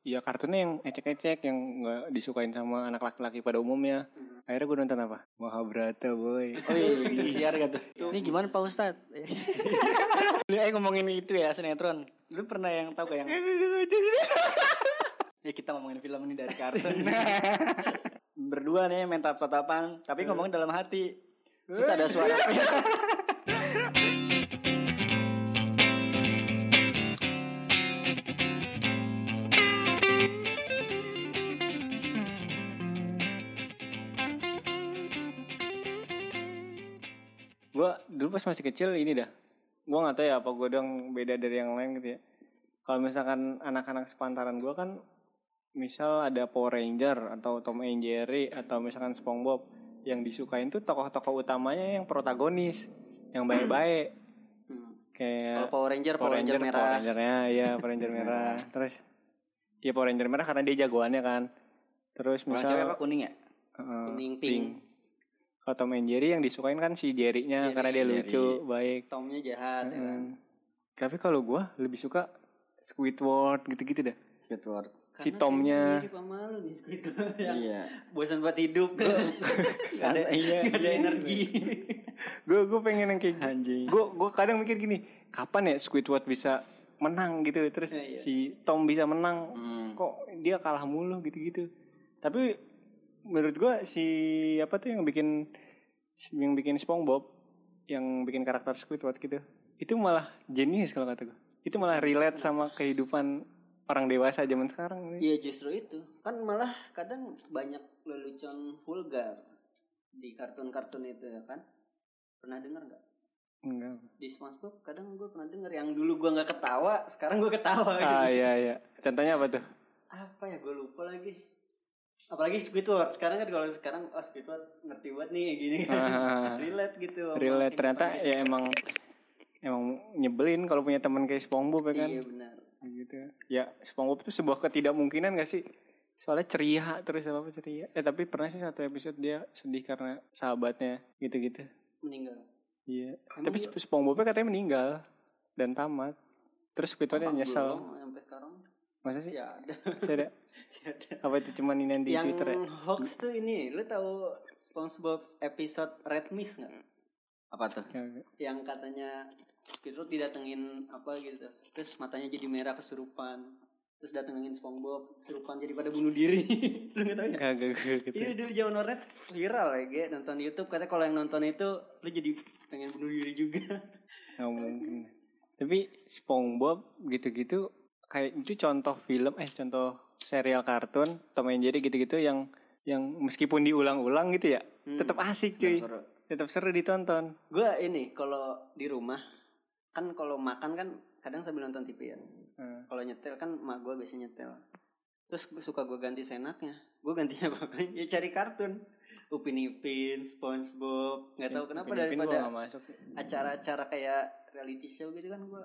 Iya kartunnya yang ecek-ecek yang nggak disukain sama anak laki-laki pada umumnya. Akhirnya gue nonton apa? Mahabharata boy. Oh iya, siar gak tuh? Ini gimana Pak Ustad? Lu eh ngomongin itu ya sinetron. Lu pernah yang tahu gak yang? ya kita ngomongin film ini dari kartun. Berdua nih main tatap-tatapan, Eh. tapi ngomongin dalam hati. Terus ada suara. gue dulu pas masih kecil ini dah. Gue nggak tahu ya apa gue dong beda dari yang lain gitu ya. Kalau misalkan anak-anak sepantaran gue kan misal ada Power Ranger atau Tom and Jerry atau misalkan SpongeBob yang disukain tuh tokoh-tokoh utamanya yang protagonis, yang baik-baik. Kalau Kayak Power Ranger, Power Ranger Hmm. Power merah. Ranger-nya, iya Power Ranger merah. Terus Iya Power Ranger merah karena dia jagoannya kan. Terus Kalau cewek misal apa kuning ya? Heeh, kuning, Eh, pink. Kalau Tom and Jerry yang disukain kan si Jerry-nya Jerry, karena dia Jerry. lucu, baik. Tomnya jahat. ya kan? Heeh. Tapi kalau gua lebih suka Squidward gitu-gitu dah. Squidward. si Tomnya. Mirip sama lu nih Squidward. Yang Iya. bosan buat hidup kan. Gak ada, Iya, gak ada iya. energi. Gue gue pengen yang kayak Anjing. gue gue kadang mikir gini, kapan ya Squidward bisa menang gitu terus Iya, iya. si Tom bisa menang Hmm. kok dia kalah mulu gitu-gitu. Tapi menurut gua si apa tuh yang bikin yang bikin SpongeBob yang bikin karakter Squidward gitu. Itu malah jenius kalau kata gua. Itu malah relate sama kehidupan orang dewasa zaman sekarang. nih. Iya justru itu. Kan malah kadang banyak lelucon vulgar di kartun-kartun itu ya kan. Pernah dengar nggak? Enggak. Di SpongeBob kadang gue pernah denger yang dulu gue nggak ketawa, sekarang gue Ah ketawa. gitu. iya iya. Contohnya apa tuh? Apa ya gue lupa lagi. Apalagi Squidward sekarang kan kalau sekarang oh Squidward ngerti banget nih gini kan. Ah, relate gitu. sama relate kehidupan ternyata kita. ya emang emang nyebelin kalau punya teman kayak SpongeBob ya kan. Iya benar. Gitu. Ya SpongeBob itu sebuah ketidakmungkinan gak sih? Soalnya ceria terus apa apa ceria. Eh tapi pernah sih satu episode dia sedih karena sahabatnya gitu-gitu. Meninggal. Iya. Emang tapi dia- Sp- SpongeBob katanya meninggal dan tamat. Terus Squidward Apa nyesel. belum sampai sekarang Masa sih? masih ada. Masih ada? Masih ada. Apa itu cuman ini yang di yang Twitter ya? hoax tuh ini, lu tahu SpongeBob episode Red Mist nggak? Apa tuh? Ya, Yang katanya Squidward didatengin apa gitu, terus matanya jadi merah kesurupan, terus datengin SpongeBob, kesurupan jadi pada bunuh diri. lu nggak tahu ya? Kagak gitu. Iya dulu zaman warnet viral ya, Ge. nonton di YouTube katanya kalau yang nonton itu lu jadi pengen bunuh diri juga. Nggak mungkin. Tapi SpongeBob gitu-gitu kayak itu contoh film eh contoh serial kartun Tom and Jerry gitu-gitu yang yang meskipun diulang-ulang gitu ya Hmm. tetap asik cuy tetap seru ditonton Gue ini kalau di rumah kan kalau makan kan kadang sambil nonton TV ya. Hmm. Kalau nyetel kan mak gue biasanya nyetel. Terus gua suka gue ganti senaknya. Gue gantinya apa? ya cari kartun. Upin Ipin, SpongeBob, nggak tahu kenapa Upin Ipin gua daripada nggak masuk sih. acara-acara kayak reality show gitu kan gue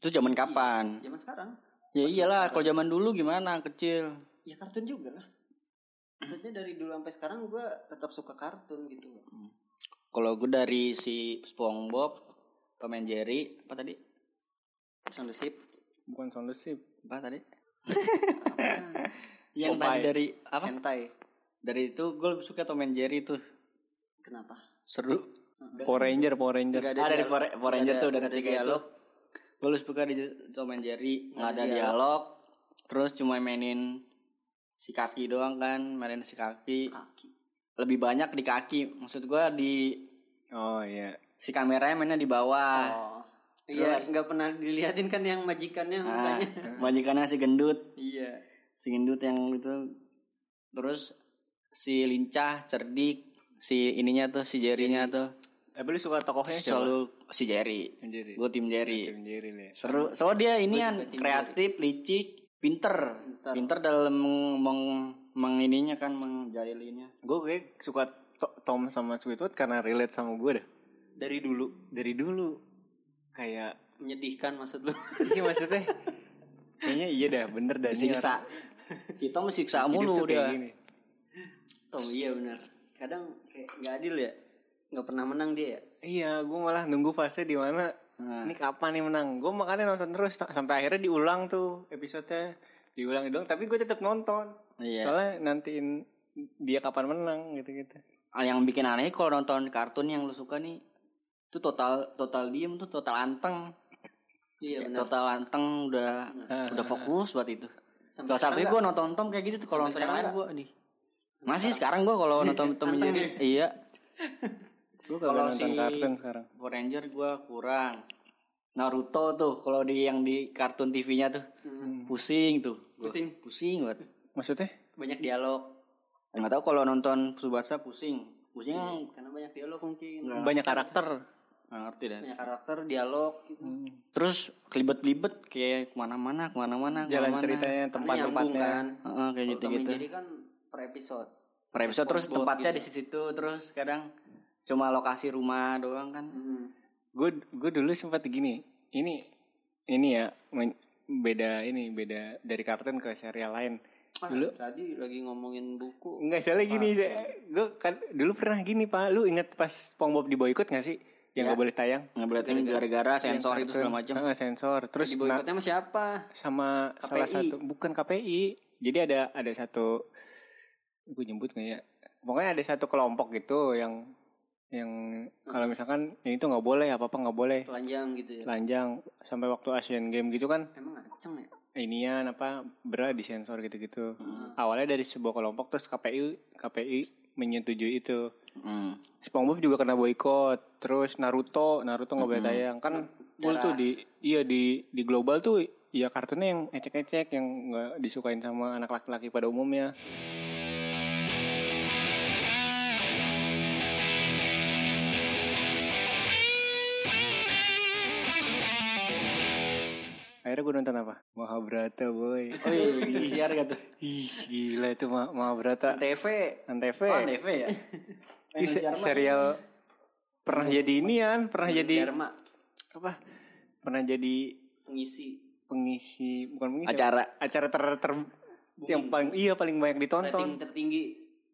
Itu Iya, zaman kapan? zaman sekarang Ya iyalah, kalau zaman dulu gimana kecil. ya kartun juga lah maksudnya dari dulu sampai sekarang gue tetap suka kartun gitu loh Kalau gue dari si SpongeBob, Tom and Jerry, apa tadi? sound the ship bukan sound the Ship. Apa tadi? Yang tadi Popeye. dari apa? hentai Dari itu gue lebih suka Tom and Jerry tuh. kenapa Seru. Power Ranger Power Ranger Nggak Ah, dari dialog. Power Power Ranger Nggak tuh ada- udah nggak ada ketiga itu. dialog Iya. Gue lebih suka di Tom and Jerry, Nggak nggak ada ada dialog. Terus cuma mainin si kaki doang kan, mainin si kaki. kaki Lebih banyak di kaki. Maksud gue di oh iya si kameranya mainnya di bawah. oh iya nggak pernah diliatin kan yang majikannya Nah, mukanya majikannya si gendut. iya si gendut yang itu terus si lincah cerdik si ininya tuh si Jerry-nya tuh eh lu suka Oh, tokohnya siapa selalu si Jerry Jerry gue tim Jerry Tim Jerry ya. nih seru so dia Gua inian juga tim kreatif licik pinter Pinter. pinter dalam meng, meng ininya kan Iya. menjahilinya gue kayak suka to- Tom sama Squidward karena relate sama gue dah dari dulu dari dulu kayak menyedihkan maksud lu Iya maksudnya Kayaknya iya dah bener dah ini orang. disiksa si Tom siksa Hidup tuh mulu kayak dia gini. Tom iya benar kadang kayak nggak adil ya nggak pernah menang dia ya Iya gue malah nunggu fase di mana Nah, Ini kapan nih menang Gue makanya nonton terus ta- Sampai akhirnya diulang tuh episodenya diulang doang tapi gue tetap nonton Iya. soalnya nantiin dia kapan menang gitu-gitu Ah, yang bikin aneh kalau nonton kartun yang lu suka nih itu total total diem tuh total anteng Iya benar. Ya, Nah. total anteng udah Ah. udah fokus buat itu Sampai kalau saat sekarang itu gue nonton Tom kayak gitu tuh Sampai kalau nonton yang lain sekarang gue nih masih sekarang gue kalau nonton Tom Anteng menjadi iya gue Kalau kalau nonton si- kartun sekarang Power Ranger gue kurang Naruto tuh kalau di yang di kartun TV-nya tuh Hmm. pusing tuh Gua Pusing. pusing banget maksudnya banyak dialog. nggak tahu kalau nonton Tsubasa pusing pusing Iya, Karena banyak dialog mungkin. Nah. banyak karakter nggak ngerti dah Banyak karakter, dialog gitu. Hmm. terus kelibet-libet kayak kemana-mana kemana-mana jalan kemana-mana. ceritanya Karena nyambung tempat-tempatnya kan. Heeh, kayak Kalau Tom and gitu-gitu Jerry kan per episode. per episode terus SpongeBob tempatnya gitu. di situ terus kadang cuma lokasi rumah doang kan Hmm. gue gue dulu sempat gini ini ini ya men- beda ini beda dari kartun ke serial lain Ah, Dulu. tadi lagi ngomongin buku. nggak salah gini gue kan dulu pernah gini pak lu inget pas SpongeBob di boykot nggak sih yang nggak boleh tayang nggak berarti ini gara-gara Iya. sensor itu segala macam Heeh, sensor terus Di na- boykotnya sama siapa? sama salah KPI. satu bukan KPI jadi ada ada satu gue nyebut nggak ya pokoknya ada satu kelompok gitu yang yang kalau misalkan yang itu nggak boleh apa apa nggak boleh Telanjang gitu ya. telanjang sampai waktu Asian Game gitu kan Emang ngaceng ya? inian apa berat disensor gitu-gitu awalnya dari sebuah kelompok terus KPI KPI menyetujui itu Hmm. SpongeBob juga kena boykot terus Naruto Naruto nggak boleh Hmm. tayang kan full tuh di iya di di global tuh ya kartunnya yang ecek-ecek yang nggak disukain sama anak laki-laki pada umumnya akhirnya gue nonton apa Mahabharata boy oh iya iya, siar gitu Ih, gila itu Ma- Mahabharata TV Antv oh TV ya Ih, se- serial pernah jadi inian, pernah jadi Dharma apa? Pernah jadi pengisi pengisi bukan pengisi acara apa? acara ter, ter- yang paling iya paling banyak rating ditonton tertinggi.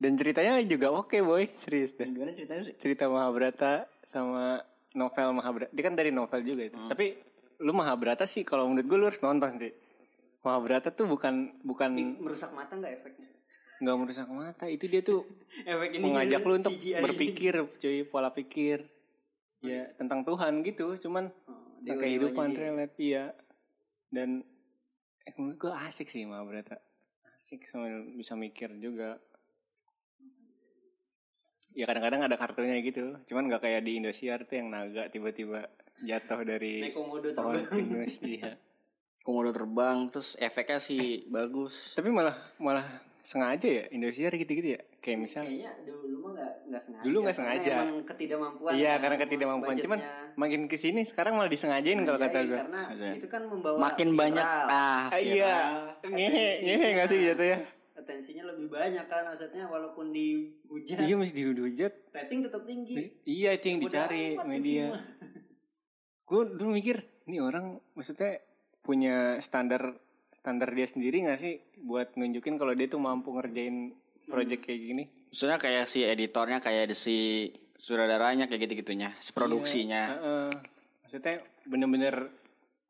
dan ceritanya juga oke boy serius deh gimana ceritanya sih cerita Mahabharata sama novel Mahabharata dia kan dari novel juga itu Hmm. tapi lu Mahabharata sih kalau menurut gue lu harus nonton sih Mahabharata tuh bukan bukan Merusak mata nggak efeknya? nggak merusak mata itu dia tuh Efek ini mengajak jadi lu untuk CGI. berpikir cuy pola pikir ya Iya. tentang Tuhan gitu cuman Oh, tentang dewa-dewanya kehidupan dia. relate iya dan eh, menurut gue asik sih Mahabharata asik sambil bisa mikir juga ya kadang-kadang ada kartunya gitu cuman nggak kayak di Indosiar tuh yang naga tiba-tiba jatuh dari Naik komodo pohon terbang. pinus iya. Eh, komodo terbang terus efeknya sih bagus tapi malah malah sengaja ya Indosiar gitu-gitu ya kayak misal Kayaknya Iya, dulu mah nggak nggak sengaja. Dulu nggak Karena sengaja. Emang ketidakmampuan. Iya, kan, karena emang ketidakmampuan. Cuman budgetnya. makin kesini sekarang malah disengajain kalau kata Sengajain, gue Karena Sengaja. itu kan membawa makin banyak viral. ah Ah, iya viral, ngehe atensi. ngehe nggak sih gitu Iya. ya Atensinya lebih banyak kan maksudnya walaupun dihujat iya mesti dihujat rating tetap tinggi. iya itu yang Bodo dicari amat itu media mah. gue dulu mikir ini orang maksudnya punya standar standar dia sendiri nggak sih buat nunjukin kalau dia tuh mampu ngerjain project kayak gini maksudnya kayak si editornya kayak si sutradaranya kayak gitu gitunya si produksinya Iya, Heeh. maksudnya bener-bener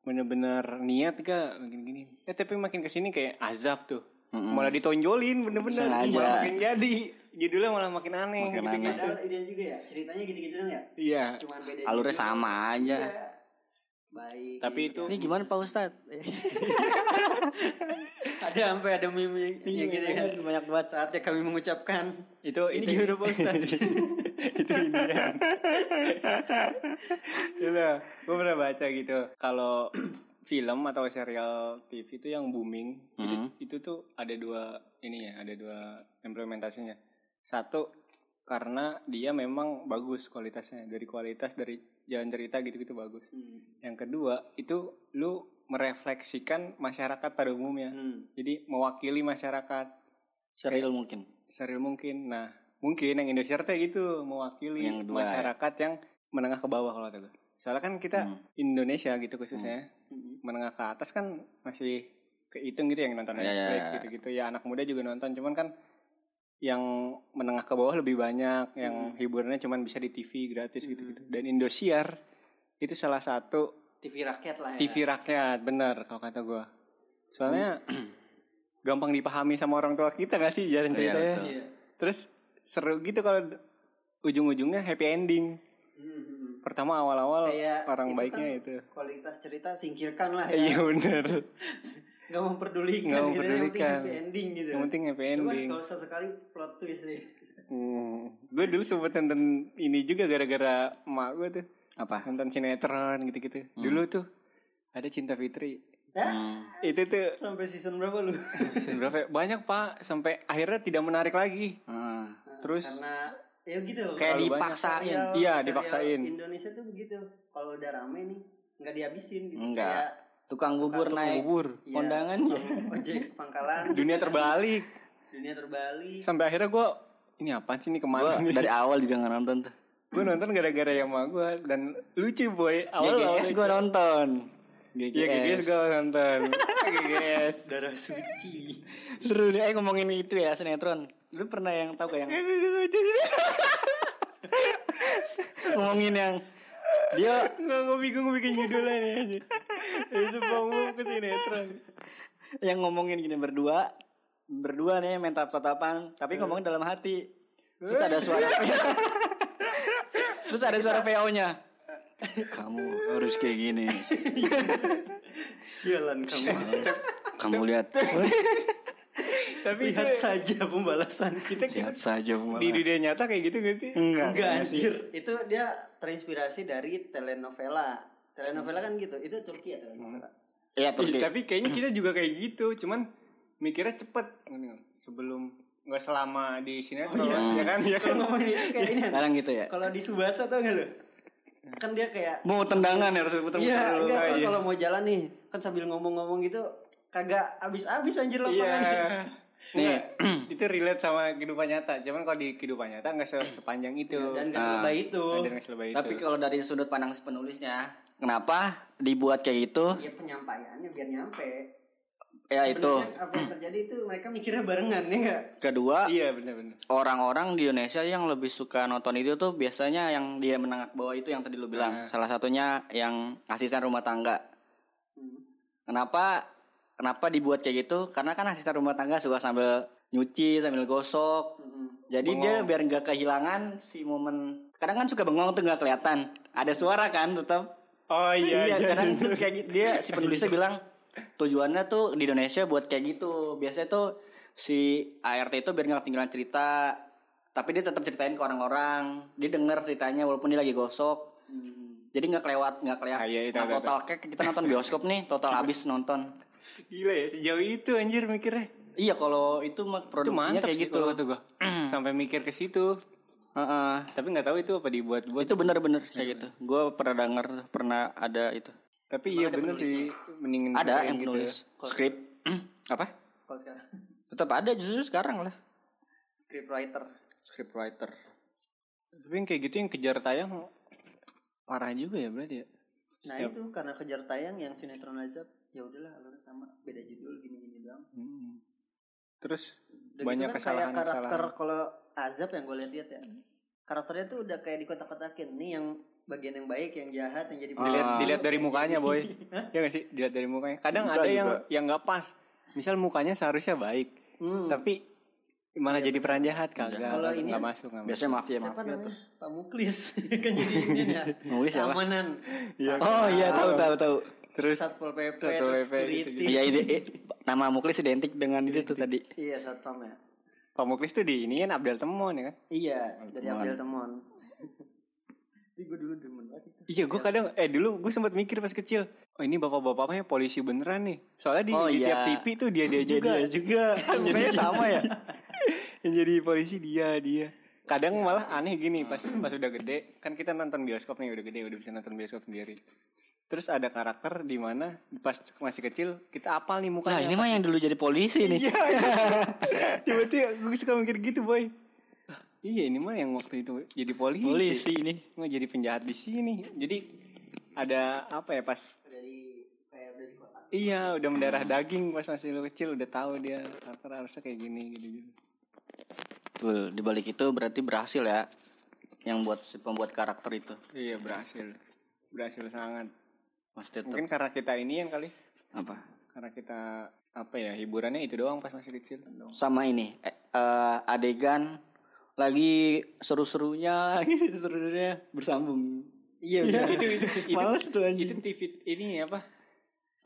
bener-bener niat gak makin gini eh tapi makin kesini kayak azab tuh Mm-mm. malah ditonjolin bener-bener Sengaja. malah makin jadi judulnya malah makin aneh Makin gitu aneh. Padahal idean juga ya ceritanya gitu-gitu dong ya. iya Cuman beda. alurnya judul. sama aja Iya. Baik. Tapi itu- gitu. ini gimana Pak Ustadz ada sampai ada meme Iya, ya gitu kan. Banyak banget saatnya kami mengucapkan itu ini itu gimana Pak Ustaz? itu inian itu gue Iya. pernah baca gitu kalau film atau serial TV itu yang booming itu, Mhm. itu tuh ada dua ini ya ada dua implementasinya satu karena dia memang bagus kualitasnya dari kualitas dari jalan cerita gitu-gitu bagus yang kedua itu lu merefleksikan masyarakat pada umumnya Hmm. jadi mewakili masyarakat serial mungkin serial mungkin. Nah, mungkin yang Indosiar teh gitu mewakili Yang kedua, ya. masyarakat yang menengah ke bawah kalau kata gue. Soalnya kan kita Hmm. Indonesia gitu khususnya Hmm. menengah ke atas kan masih kehitung gitu yang nonton Iya, iya, Netflix iya. gitu-gitu ya anak muda juga nonton cuman kan yang menengah ke bawah lebih banyak yang Hmm. hiburannya cuman bisa di TV gratis gitu-gitu dan Indosiar itu salah satu Iya. TV rakyat lah ya. TV rakyat bener kalau kata gua soalnya gampang dipahami sama orang tua kita gak sih jalan Iya, ceritanya betul. Iya. terus seru gitu kalau d- ujung-ujungnya happy ending Hmm, hmm. pertama awal-awal Kayak orang itu baiknya kan itu Kualitas cerita singkirkan lah iya ya. bener Nggak memperdulikan Nggak gitu. Yang penting memperdulikan. happy ending Iya. gitu. yang penting happy Cuman ending kalau sesekali plot twist nih. gue Hmm. dulu sempet nonton ini juga gara-gara emak gue tuh apa nonton sinetron gitu-gitu Hmm. dulu tuh ada cinta fitri Hah? Hmm. itu tuh Ya? Sampai season berapa lu? season berapa ya? banyak pak sampai akhirnya tidak menarik lagi Ah. Terus- karena ya gitu Kayak Kalau dipaksain. banyak serial- Iya, serial dipaksain. Indonesia tuh begitu kalau udah rame nih nggak dihabisin gitu Enggak. Kayak, tukang bubur Tukang naik bubur iya, kondangan ya ojek pangkalan dunia terbalik dunia terbalik sampai akhirnya gue ini apaan sih ini Gua kemana dari awal juga nggak nonton tuh gue nonton gara-gara yang sama gue dan lucu Iya, boy awal-awal GGS gue nonton GGS, Iya GGS gue nonton GGS darah suci seru nih eh ngomongin itu ya sinetron lu pernah yang tahu gak yang ngomongin yang dia Nggak, gue bingung bikin judulnya nih aja Dari SpongeBob ke sinetron yang ngomongin gini berdua berdua nih main tatap tatapan tapi ngomongin dalam hati terus ada suara terus ada suara VO nya kamu harus kayak gini sialan kamu kamu lihat Tapi itu lihat saja pembalasan kita lihat saja di dunia nyata kayak gitu gak sih? enggak anjir itu dia terinspirasi dari telenovela telenovela kan gitu itu Turki ya telenovela Iya Ih, Turki. tapi kayaknya kita juga kayak gitu Cuman mikirnya cepet Sebelum Gak selama di sinetron Ya kan? Ya kan? kalau ngomong ini kayak ini Sekarang gitu ya. kalau di Subasa tau gak lu kan dia kayak Mau tendangan ya, harus putar-putar Iya, dulu. enggak kan iya. kalau mau jalan nih, kan sambil ngomong-ngomong gitu kagak habis-habis anjir Iya lapangan. Nih, itu relate sama kehidupan nyata. Cuman kalau di kehidupan nyata nggak se- sepanjang itu. Dan gak selebay itu. Ada nggak selebay itu. Tapi kalau dari sudut pandang si penulisnya, kenapa dibuat kayak gitu? Ya penyampaiannya biar nyampe. Ya itu. Sebenarnya Apa yang terjadi itu mereka mikirnya barengan ya enggak? Kedua, iya benar-benar. orang-orang di Indonesia yang lebih suka nonton itu tuh biasanya yang dia menengah ke bawah itu yang tadi lu bilang. Salah satunya yang asisten rumah tangga. Kenapa kenapa dibuat kayak gitu? Karena kan asisten rumah tangga suka sambil nyuci, sambil gosok, Jadi dia biar nggak kehilangan si momen. Kadang kan suka bengong tuh nggak kelihatan. Ada suara kan tetap. Oh iya, iya. kadang tuh kayak gitu. Dia si penulisnya bilang tujuannya tuh di Indonesia buat kayak gitu. Biasanya tuh si ART itu biar nggak ketinggalan cerita. Tapi dia tetap ceritain ke orang-orang. Dia denger ceritanya walaupun dia lagi gosok. Jadi nggak kelewat, nggak kelihatan. Ah, iya, iya, tahu, Nah, tahu, total kayak kita nonton bioskop nih, total habis nonton. Gila ya sejauh itu anjir mikirnya. Iya kalau itu mah Itu produksinya mantap kayak sih gitu. gitu. kata gua. Sampai mikir ke situ. Heeh. Tapi nggak tahu itu apa dibuat-buat. itu bener-bener kayak Iya. gitu gue pernah denger pernah ada itu Tapi iya bener sih mendingin ada bikin yang gitu ya. penulis skrip apa Kalau sekarang tetap ada justru sekarang lah script writer. script writer Tapi yang kayak gitu yang kejar tayang parah juga ya berarti ya. Nah, itu karena kejar tayang yang sinetron aja ya udahlah alurnya sama beda judul gini-gini doang. Hmm. Terus Dan banyak itu kan kayak karakter kesalahan-kesalahan. kalau Azab yang gue lihat-lihat ya karakternya tuh udah kayak dikotak-kotakin nih yang bagian yang baik yang jahat yang jadi dilihat Ah. dilihat dari mukanya boy ya gak sih dilihat dari mukanya kadang Enggak ada yang juga. yang nggak pas misal mukanya seharusnya baik Hmm. Iya, tapi malah jadi peran jahat kagak Kalau ini nggak kan masuk nggak masuk biasanya mafia siapa mafia tuh namanya Pak Muklis kan jadi ini ya Muklis siapa? keamanan oh iya tahu tahu tahu terus satpol pp Satpol terus PP, gitu-gitu. security iya ide eh, nama muklis identik dengan itu tuh tadi iya satpam ya Pak Muklis tuh di ini kan Abdel Temon ya kan iya dari Temuan. Abdel Temon tapi gue dulu demen banget itu iya gue kadang eh dulu gue sempat mikir pas kecil oh ini bapak-bapaknya polisi beneran nih soalnya di, Oh, di iya. tiap TV tuh dia dia juga dia juga mukanya sama ya yang jadi polisi dia dia kadang malah aneh gini pas pas udah gede kan kita nonton bioskop nih udah gede udah bisa nonton bioskop sendiri terus ada karakter di mana pas masih kecil kita apal nih nah mukanya ini mah yang dulu jadi polisi nih iya tiba-tiba gue suka mikir gitu boy Lah, iya ini mah yang waktu itu jadi polisi, polisi ini nggak jadi penjahat di sini jadi ada apa ya pas dari kayak dari kota iya udah mendarah daging pas masih lu kecil udah tahu dia karakter harusnya kayak gini gitu gitu betul dibalik itu berarti berhasil ya yang buat si pembuat karakter itu iya berhasil berhasil sangat mas tetap Mungkin karena kita ini yang kali apa karena kita apa ya hiburannya itu doang pas masih kecil sama ini eh, eh, adegan lagi seru-serunya gitu, seru-serunya bersambung Iya, itu itu itu. males tuh itu anjing TV ini apa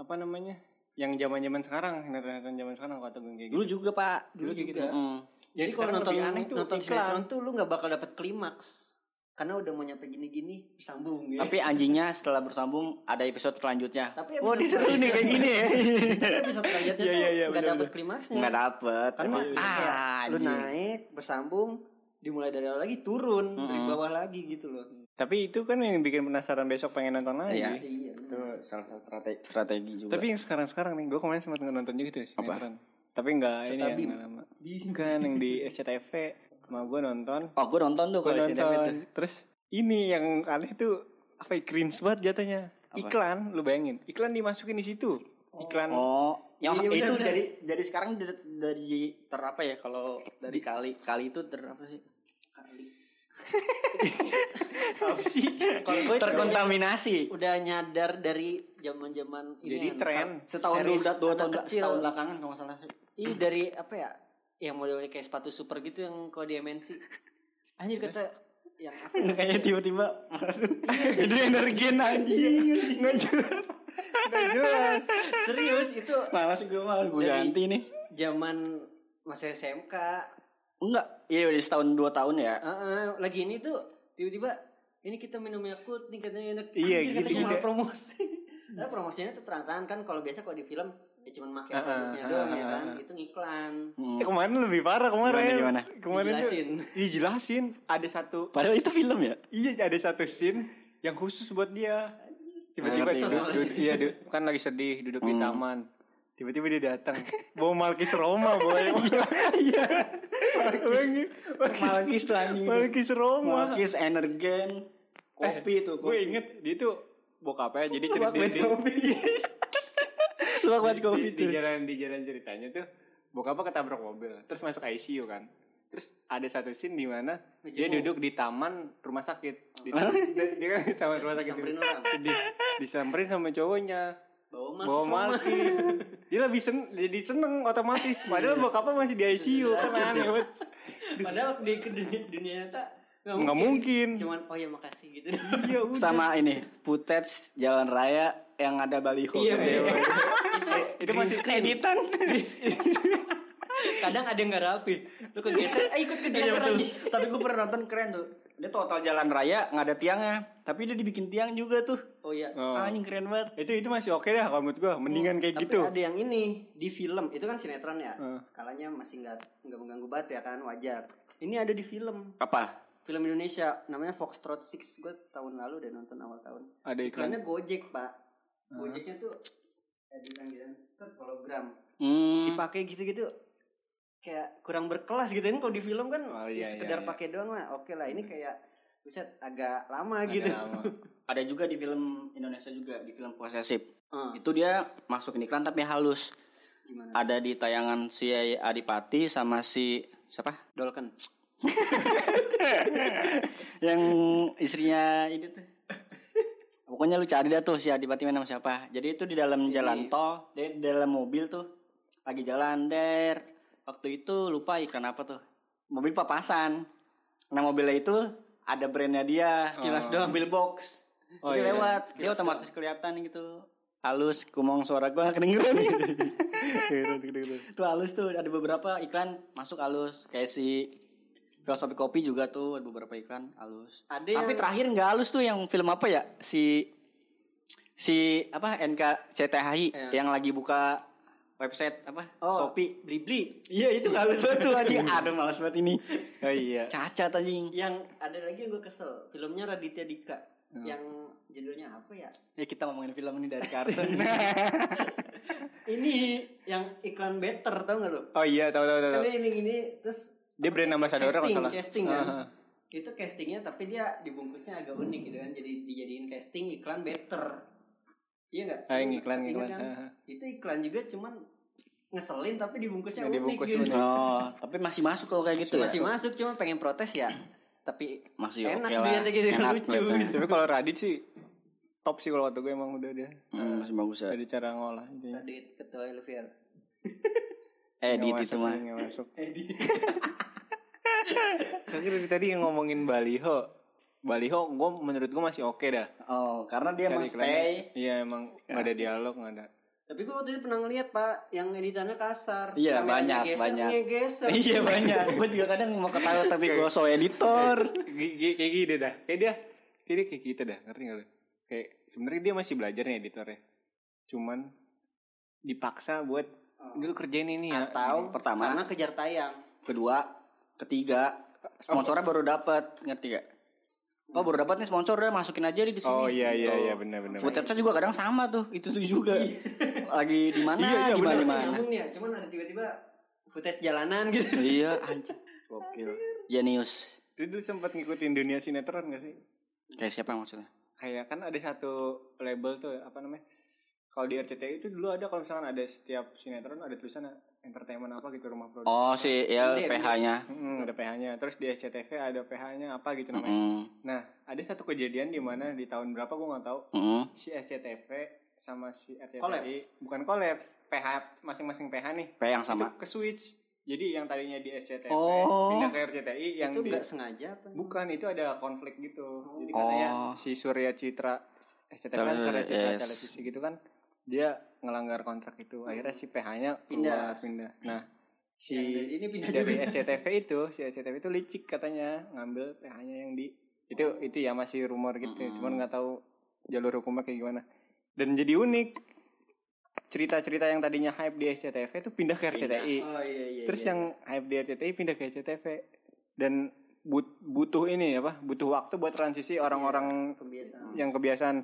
apa namanya yang zaman zaman sekarang sinetron zaman sekarang kalau tegang kayak gitu dulu juga pak Dulu Dulu gitu. juga. Mm. Jadi kalau sekarang nonton lebih aneh tuh nonton iklan. sinetron tuh lu nggak bakal dapet klimaks karena udah mau nyampe gini-gini sambung ya. tapi anjingnya setelah bersambung ada episode selanjutnya Tapi wah ini seru nih kayak gini ya episode selanjutnya Iya, tuh iya, iya, nggak bener, dapet klimaksnya. nggak dapet karena emang. ah, kayak lu anjing. naik bersambung dimulai dari awal lagi turun dari Mm-mm. bawah lagi gitu loh. tapi itu kan yang bikin penasaran besok pengen nonton lagi Gitu. Iya. Iya. itu salah satu strategi, strategi juga tapi yang sekarang sekarang nih gue kemarin sempat nonton juga tuh sinetron tapi nggak ini ya Cetabim. nggak lama bukan yang di SCTV sama gue nonton oh gue nonton tuh gue kalau si David nonton tuh. terus ini yang aneh tuh apa ya, cringe banget jatuhnya iklan lu bayangin iklan dimasukin di situ iklan oh yang Iya, itu bener-bener. dari dari sekarang dari, dari ter apa ya kalau dari kali kali itu ter apa sih apa sih Kalau gue terkontaminasi udah nyadar dari zaman-zaman ini. Jadi kan, tren. setahun dulu Series dua tahun kecil. setahun belakangan kalau nggak salah sih Iya dari apa ya? Yang modelnya kayak sepatu super gitu yang kalau di MNC. Anjir kata yang apa? ya? kayaknya tiba-tiba masuk itu energen anjing nggak jelas Nggak jelas. Serius itu malas gue malas gue Jadi- ganti nih zaman masa SMK. enggak iya udah setahun dua tahun ya Heeh, lagi ini tuh tiba-tiba ini kita minum Yakult nih katanya enak. Iya, Anjir, gitu katanya malah juga. promosi. Nah, promosinya tuh terang-terangan kan kalau biasa kalau di film ya cuman pakai Heeh, produknya heeh, doang ya heeh, kan. heeh. Itu ngiklan. Hmm. Eh, kemarin lebih parah kemarin Gimana, gimana? kemarin Dijelasin. tuh dijelasin ada satu padahal itu film ya Iya ada satu scene yang khusus buat dia. Tiba-tiba Ngerti, duduk, ngerti. duduk- iya du- kan lagi sedih duduk di Hmm. taman. Tiba-tiba dia datang bawa Malkis Roma boy. Iya. Malkis- Malkis Eh, tuh anjing itu. Malkis Roma. Malkis energen kopi tuh Gue Eh, inget dia tuh bokapnya jadi Lu cerita buat di, kopi lu buat di, kopi di tuh jalan di jalan ceritanya tuh bokapnya ketabrak mobil terus masuk ICU kan. Terus ada satu scene di mana dia Ngejenguk. duduk di taman rumah sakit. Di, dia, dia kan di taman rumah sakit. Samperin orang. Sedih. Disamperin sama cowoknya. Bawa Malkis bawa Roma. malkis dia lebih sen jadi seneng otomatis Iya. padahal bokapnya masih di ICU kan aneh banget Padahal di ke dunia, dunia nyata nggak nggak mungkin Cuman oh ya makasih gitu. iya udah sama ini putet jalan raya yang ada baliho Iya, gede. iya. itu masih editan Kadang ada yang nggak rapi. Lu kegeser, eh ikut Iya, kegeser betul. aja. tapi gue pernah nonton keren tuh dia total jalan raya nggak ada tiangnya tapi dia dibikin tiang juga tuh Oh iya. Oh. anjing keren banget itu itu masih oke deh kalau menurut gua mendingan kayak Tapi gitu ada yang ini di film itu kan sinetron ya Heeh. skalanya masih nggak nggak mengganggu banget ya kan wajar ini ada di film apa film Indonesia namanya Foxtrot 6 gue tahun lalu udah nonton awal tahun ada iklan iklannya Gojek pak Gojeknya tuh ada panggilan set hologram si hmm. pakai gitu-gitu kayak kurang berkelas gitu ini kalau di film kan Oh, iya, ya iya, sekedar iya. pakai doang lah oke lah ini Hmm. kayak buset agak lama gitu ada juga di film Indonesia juga di film posesif Eh, itu dia masuk iklan tapi halus gimana ada di tayangan si Adipati sama si siapa dolken yang istrinya ini tuh pokoknya lu cari dah tuh si Adipati main sama siapa jadi itu di dalam jalan tol dia di dalam mobil tuh lagi jalan der waktu itu lupa iklan apa tuh mobil papasan nah mobilnya itu ada brandnya dia Sekilas doang box Oh, jadi iya. lewat dia otomatis kelihatan gitu halus kumong suara gua nggak kedengeran Iya, gitu, itu halus tuh ada beberapa iklan masuk halus kayak si filosofi kopi juga tuh ada beberapa iklan halus ada tapi yang terakhir nggak halus tuh yang film apa ya si si apa NKCTHI Iya. yang lagi buka website apa Oh. Shopee beli beli iya itu halus banget tuh anjing aduh malas banget ini oh iya cacat anjing yang ada lagi yang gue kesel filmnya Raditya Dika Hmm. yang judulnya apa ya ya kita ngomongin film ini dari kartun ini yang iklan better tau gak lo oh iya tahu tahu tahu tahu. Karena ini gini terus dia brand ambassador kalau casting salah Ah, casting kan Heeh. itu castingnya tapi dia dibungkusnya agak unik gitu kan jadi dijadiin casting iklan better iya nggak Ah, yang iklan, Ingat iklan. kan? Heeh. itu iklan juga cuman ngeselin tapi dibungkusnya Yang unik dibungkus gitu unik. Iya. oh tapi masih masuk kalau kayak gitu ya? masih masuk cuma pengen protes ya tapi masih enak oke lah. dilihatnya gitu, Enak lucu kelihatannya. tapi kalau Radit sih top sih kalau waktu gue emang udah dia Hmm, masih bagus ya. dari cara ngolah intinya. Radit ketua Elvier. Edit Nggak itu masuk, mah. nggak masuk. Kan dari tadi yang ngomongin baliho. Baliho gue menurut gue masih oke dah. Oh, karena dia Cari emang iklannya. stay. Iya emang nggak ada dialog nggak ada. Tapi gue waktu itu pernah ngeliat pak yang editannya kasar. Iya, Kameranya banyak, geser, banyak. punya geser. Iya banyak. Gue juga kadang mau ketawa tapi gue so editor. Gi- gi- kayak gini dah. Kayak dia, kayak dia kayak gitu dah. Ngerti nggak lu? Kayak sebenarnya dia masih belajar nih editornya. Cuman dipaksa buat Oh. dulu kerjain ini ya. Atau Pertama. karena kejar tayang. Kedua, ketiga, sponsornya baru dapat, ngerti gak? Oh baru dapat nih sponsor udah masukin aja di sini. Oh iya iya Gitu. iya benar benar. Footstepsnya juga kadang sama tuh, itu tuh juga. Lagi di mana? Iya, iya, di bener. mana? di Ini mana. Nah, nyambung nih ya, cuman ada tiba-tiba footage jalanan gitu. Iya, anjir. Gokil. Genius. Lu dulu sempat ngikutin dunia sinetron gak sih? Kayak siapa yang maksudnya? Kayak kan ada satu label tuh apa namanya? Kalau di RCTI itu dulu ada kalau misalkan ada setiap sinetron ada tulisan entertainment apa gitu rumah produksi. Oh si ya Gede, PH-nya. Mm, ada PH-nya. Terus di SCTV ada PH-nya apa gitu namanya. Mm-mm. Nah, ada satu kejadian di mana di tahun berapa gue nggak tahu Mm-mm. si SCTV sama si RCTI Collapse. bukan kolaps PH masing-masing PH nih P yang itu sama. ke switch jadi yang tadinya di SCTV Oh. pindah ke RCTI yang itu di nggak sengaja apa? bukan itu ada konflik gitu jadi katanya Oh. si Surya Citra SCTV kan Terus, Surya Citra yes. televisi gitu kan dia ngelanggar kontrak itu akhirnya si PH-nya Hmm. Pindah. pindah pindah nah si Yang dari sini pindah si dari juga. SCTV itu si SCTV itu licik katanya ngambil PH-nya yang di itu itu ya masih rumor gitu Mm-mm. cuman nggak tahu jalur hukumnya kayak gimana dan jadi unik cerita-cerita yang tadinya hype di SCTV itu pindah ke RCTI Oh iya iya. Terus iya. yang HFD RCTI pindah ke SCTV dan but- butuh ini apa? Butuh waktu buat transisi Iya. orang-orang kebiasaan. Iya. yang kebiasaan.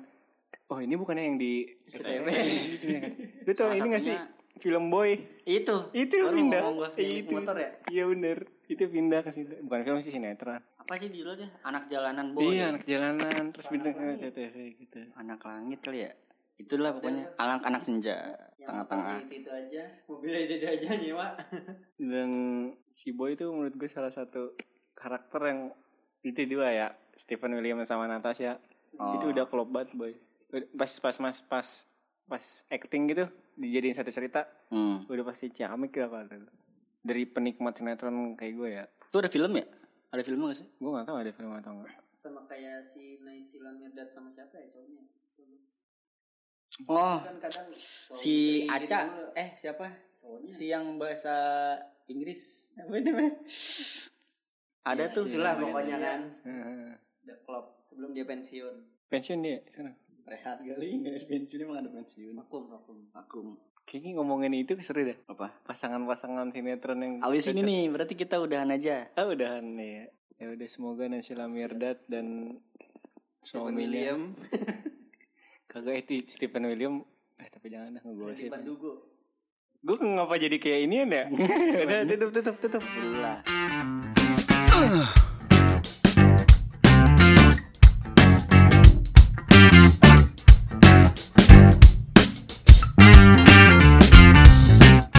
Oh ini bukannya yang di SCTV. SCTV? gitu ya kan. Lu tau Salah ini nggak sih satunya- film boy? Itu. Itu Baru pindah. ngomong gua, yang Itu. motor ya? Iya bener. Itu pindah ke situ. Bukan film sih sinetron. Apa sih judulnya? Anak jalanan boy. Iya anak jalanan terus pindah ke SCTV gitu. Anak langit kali ya. Itulah pokoknya anak-anak senja Yang tengah-tengah. Itu, itu aja. Mobilnya itu, itu aja nyewa. Dan si boy itu menurut gue salah satu karakter yang itu dua ya Stephen William sama Natasha Oh. itu udah klop banget boy pas pas mas pas pas acting gitu dijadiin satu cerita Hmm. udah pasti ciamik lah kalau dulu. dari penikmat sinetron kayak gue ya Itu ada film ya? Ada film gak sih? gue nggak tahu ada film atau enggak Sama kayak si Naisila Mirdad sama siapa ya cowoknya? Oh, Kan kadang si cowok itu Aca dulu, eh siapa? cowoknya. Si yang bahasa Inggris. Apa namanya? Ada Ya, tuh Iya, itu lah pokoknya kan. Heeh. The Club sebelum dia pensiun. Eh, pensiun dia sekarang Rehat kali enggak pensiun emang ada pensiun. Vakum, vakum. Aku kayaknya ngomongin itu seru deh apa? pasangan-pasangan sinetron yang Abis ini nih berarti kita udahan aja. ah udahan ya ya udah semoga Nansila Mirdad dan Stephen suaminya William kagak itu Stephen William eh tapi jangan dah di Gitu. ngegosip Pandugo. gue ngapa jadi kayak ini ya udah tutup tutup tutup Dulu lah. Ugh.